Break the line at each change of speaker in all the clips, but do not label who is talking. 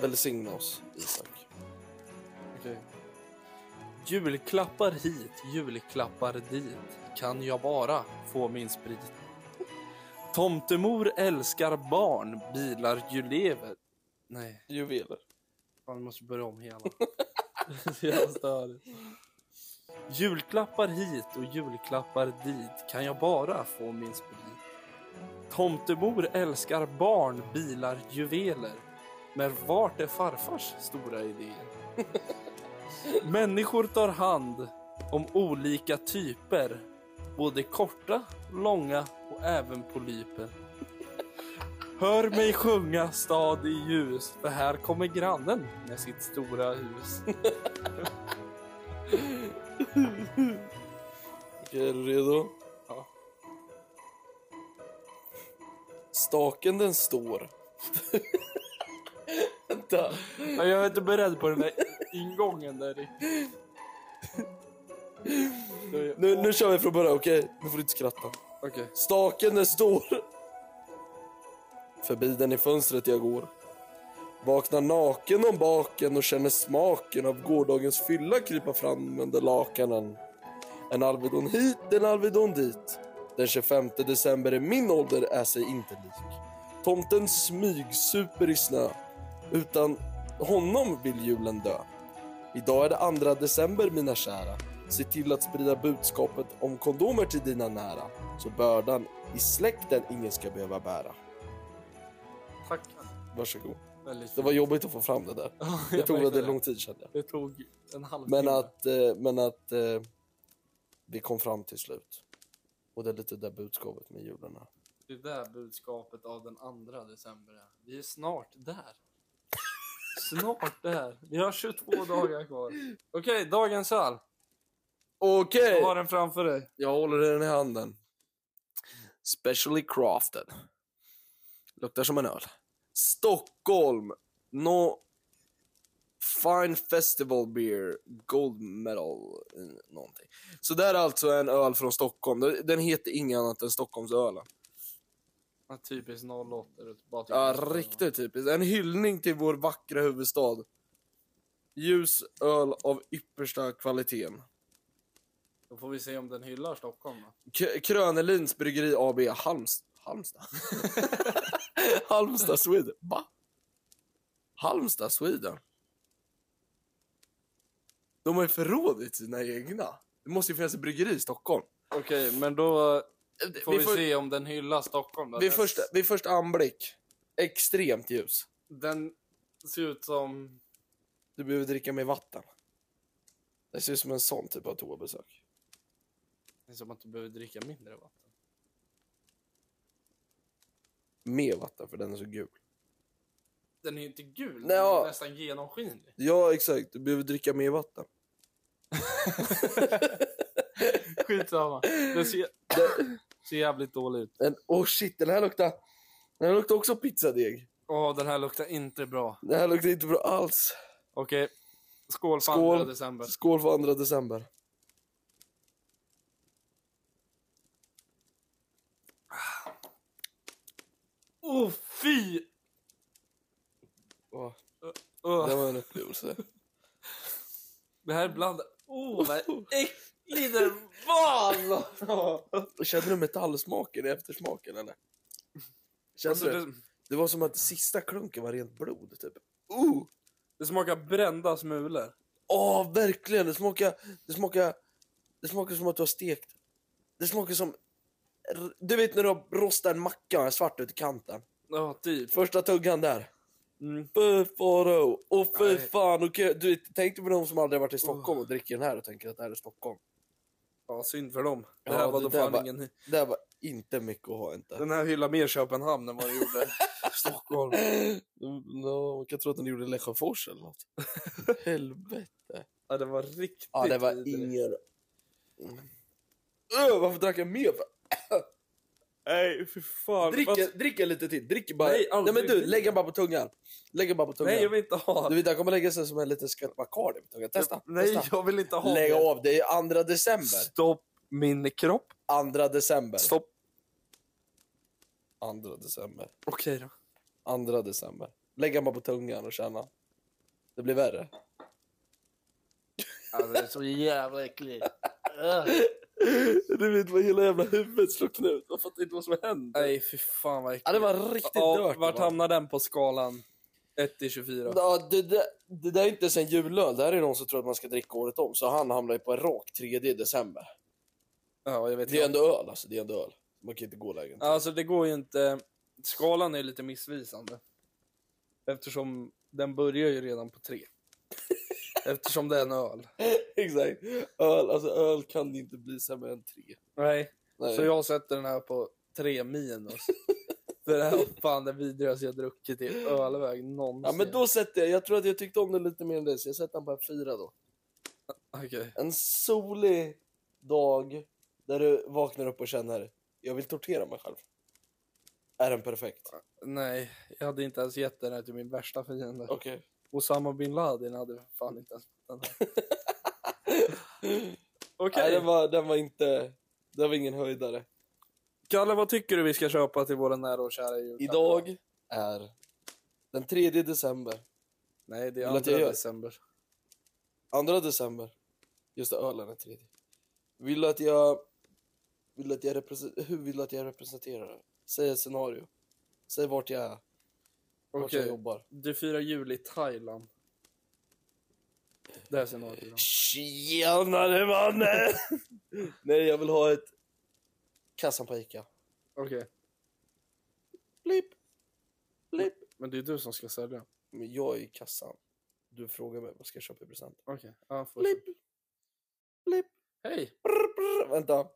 Välsigna oss, Isak.
Okej.
Julklappar hit, julklappar dit. Kan jag bara få min sprit? Tomtemor älskar barn, bilar ju lever. Nej,
Juveler.
fan, jag måste börja om hela. Så jävla störigt. Julklappar hit och julklappar dit. Kan jag bara få min sprit? Tomtemor älskar barn, bilar, juveler. Men vart är farfars stora idéer? Människor tar hand om olika typer. Både korta, långa och även polyper. Hör mig sjunga stad i ljus, för här kommer grannen med sitt stora hus.
Okej, är du redo?
Ja.
Staken den står. Vänta.
Ja, Jag är inte beredd på den där ingången där. i-
Nu, nu kör vi från början, okej? Nu får du inte skratta.
Okej.
Staken är stor. Förbi den i fönstret jag går. Vaknar naken om baken och känner smaken av gårdagens fylla krypa fram under lakanen. En Alvedon hit, en Alvedon dit. Den 25 december i min ålder är sig inte lik. Tomten smygsuper i snö. Utan honom vill julen dö. Idag är det 2 december mina kära. Se till att sprida budskapet om kondomer till dina nära. Så bördan i släkten ingen ska behöva bära.
Tack.
Varsågod.
Väldigt
Det var jobbigt att få fram det där. Det tog väldigt lång tid kände jag.
Det tog en halvtimme.
Men att, eh, men att eh, vi kom fram till slut. Och det är lite där budskapet med julen är.
Det där budskapet av den andra december. är. Vi är snart där. Snart där. Vi har 22 dagar kvar. Okej, dagens öl.
Okej!
Jag har den framför dig.
Jag håller den i handen. Specially crafted. Luktar som en öl. Stockholm. No Fine Festival Beer Gold Medal eh, någonting. Så det här är alltså en öl från Stockholm. Den- Den heter inget annat än Stockholmsölen.
Ja, typiskt 08. det är Bara typ-
Ja, riktigt typiskt. En hyllning till vår vackra huvudstad. Ljus öl av yppersta kvaliteten.
Då får vi se om den hyllar Stockholm. Då.
K- Krönelins Bryggeri AB Halms Halmstad. Halmstad Sweden. Va? Halmstad Sweden. De har ju förrådit sina egna. Det måste ju finnas ett bryggeri i Stockholm.
Okej, men då får Eh, vi,
får-
se om den hyllar Stockholm. Då.
Vid
Den-
första, vid första anblick, extremt ljus.
Den ser ut som...
Du behöver dricka mer vatten. Det ser ut som en sån typ av toabesök.
Det är som att du behöver dricka mindre vatten.
Mer vatten, för den är så gul.
Den är ju inte gul,
Nej,
den
ja.
är nästan genomskinlig.
Ja, exakt. Du behöver dricka mer vatten.
Skitsamma. Den ser, ser jävligt dålig ut.
En, oh shit, den här luktar... Den här luktar också pizzadeg.
Åh, den här luktar inte bra.
Det här luktar inte bra alls.
Okej. Skål för
Skål.
andra december.
Skål för andra december.
Åh, oh, fy!
Åh,
Åh,
det var en upplevelse.
Det här är bland... Åh, oh, vad äcklig den var!
Kände du metallsmaken i eftersmaken eller? Kände
Alltså,
du?
det,
Det? var som att sista klunken var rent blod typ. Uh!
det smakar brända smulor.
Åh, verkligen! Det smakar, det smakar... Det smakar som att du har stekt... Det smakar som... Du vet när du har rostat en macka och är svart ut i kanten.
Ja, typ.
Första tuggan där.
Mm.
Fy faro! Åh fy
Nej.
fan! okej. Du vet, tänk dig på de som aldrig varit i Stockholm och dricker den här och tänker att det här är Stockholm.
Ja, synd för dem. Det
Ja,
här var
det
då
där
fan
var-
ingen...
Det här var inte mycket att ha inte.
Den här hyllar mer Köpenhamn än vad den gjorde Stockholm.
No, man kan tro att den gjorde Lesjöfors eller något. Helvete.
Ja, det var riktigt
Ja, det var
vidrigt.
ingen... Öh, varför drack jag mer? för?
Nej, för fan.
Drick,
Fast-
drick en lite till. Drick bara.
Nej,
Nej,
aldrig.
men du, lägg den bara på tungan. Lägg den bara på tungan.
Nej, jag vill inte ha
Du vet, den kommer lägga sig som en liten skvätt Bacardi på tungan. Testa.
Nej,
testa.
jag vill inte ha
Lägg
det.
av, det är ju andra december.
Stopp Min kropp.
Andra december.
Stopp.
Andra december.
Okej då.
Andra december. Lägg den bara på tungan och känna. Det blir värre.
Alltså, det är så jävla äckligt.
Du vet vad hela jävla huvudet slog knut. Jag fattar inte vad som hände.
Nej, fy fan vad äckligt.
Ja, det var riktigt
ja,
dirt.
Vart
va?
hamnar den på skalan 1 till 24?
Ja, det, där, det där är inte ens en julöl. Det här är någon som tror att man ska dricka året om. Så han hamnar ju på en rak 3 december.
Ja, jag vet
Det är ju
inte.
ändå öl alltså. Det är ändå öl. Man kan inte gå lägre. än
Alltså det går ju inte. Skalan är lite missvisande. Eftersom den börjar ju redan på tre. Eftersom det är en öl.
Exakt. Öl, alltså öl kan inte bli sämre än tre.
Nej,
Nej.
så jag sätter den här på tre minus. För det här var fan det vidrigaste jag druckit i ölväg
Ja,
någonsin.
men då sätter jag, jag tror att jag tyckte om den lite mer än dig, så jag sätter den på en fyra då.
Okej.
En solig dag där du vaknar upp och känner, jag vill tortera mig själv. Är den perfekt?
Nej, jag hade inte ens gett den här till min värsta fiende.
Okej.
Osama bin Laden hade för fan inte ens fått den här. Okej.
Nej, den var, den var inte, den var ingen höjdare.
Kalle, vad tycker du vi ska köpa till våra nära och kära i julklapp?
Idag är den 3 december.
Nej, det är
Vill att jag
2
gör?
december.
2 december. Just det, ölen är 3. Vill du att jag, vill du att jag, represen- hur vill du att jag representerar det? Säg ett scenario. Säg vart jag är, vart jag
Okej.
jobbar.
Du firar jul i Thailand. Det här scenariot. då.
Tjenare mannen! Nej, jag vill ha ett... Kassan på Ica.
Okej,
Blipp, blipp.
men det är du som ska sälja.
Men jag är i kassan. Du frågar mig vad ska jag köpa i present.
Okej, ja, får
Blipp, blipp,
Hej!
brr, brr. Vänta.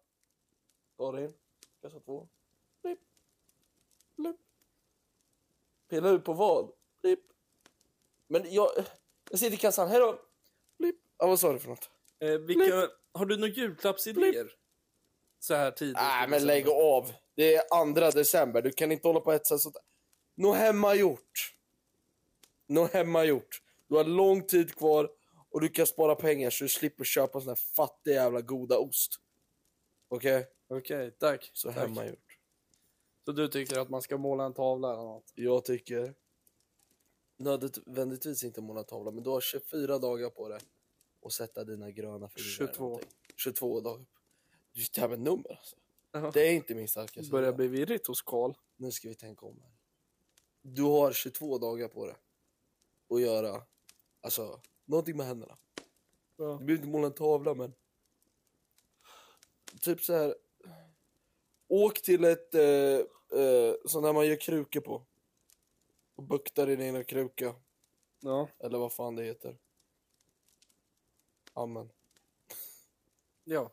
Karin, kassa två. Blipp, blipp. Pilla ut på vad? Blipp. Men jag... Jag sitter i kassan. Hej då! Blipp. Ja, vad sa du för något?
Eh, vilka, har du några julklappsidéer? Så här tidigt.
Nej,
i
men
december.
lägg av. Det är andra december. Du kan inte hålla på och hetsa sånt. Nå hemmagjort. Nå hemmagjort. Du har lång tid kvar och du kan spara pengar så du slipper köpa sån här fattig jävla goda ost. Okej?
Okej, tack.
Så
tack.
hemmagjort.
Så du tycker att man ska måla en tavla eller något?
Jag tycker nödvändigtvis inte måla tavla, men du har 24 dagar på dig och sätta dina gröna figurer. eller
22.
någonting. 22 dagar. Du, det här med nummer alltså.
Jaha.
Det är inte min starka
Det
sida.
börjar bli virrigt hos Karl.
Nu ska vi tänka om. Här. Du har 22 dagar på dig att göra alltså, någonting med händerna.
Ja.
Du behöver inte måla en tavla, men... Typ så här... Åk till ett... Eh, eh, sån här man gör krukor på. Och buktar i din kruka,
ja.
eller vad fan det heter. Amen.
Ja.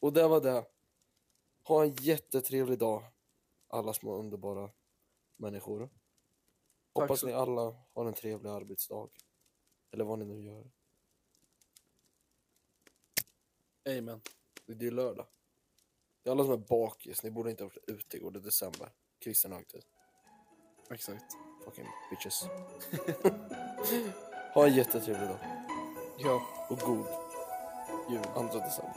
Och det var det. Ha en jättetrevlig dag, alla små underbara människor. Hoppas
så-
ni alla har en trevlig arbetsdag. Eller vad ni nu gör.
Amen.
Det det är ju lördag. Det är alla som är bakis. Ni borde inte ha varit ute igår. Det är december. Kristen högtid.
Exakt.
Fucking bitches. ha en jättetrevlig dag.
Ja.
Och god jul. Andra december.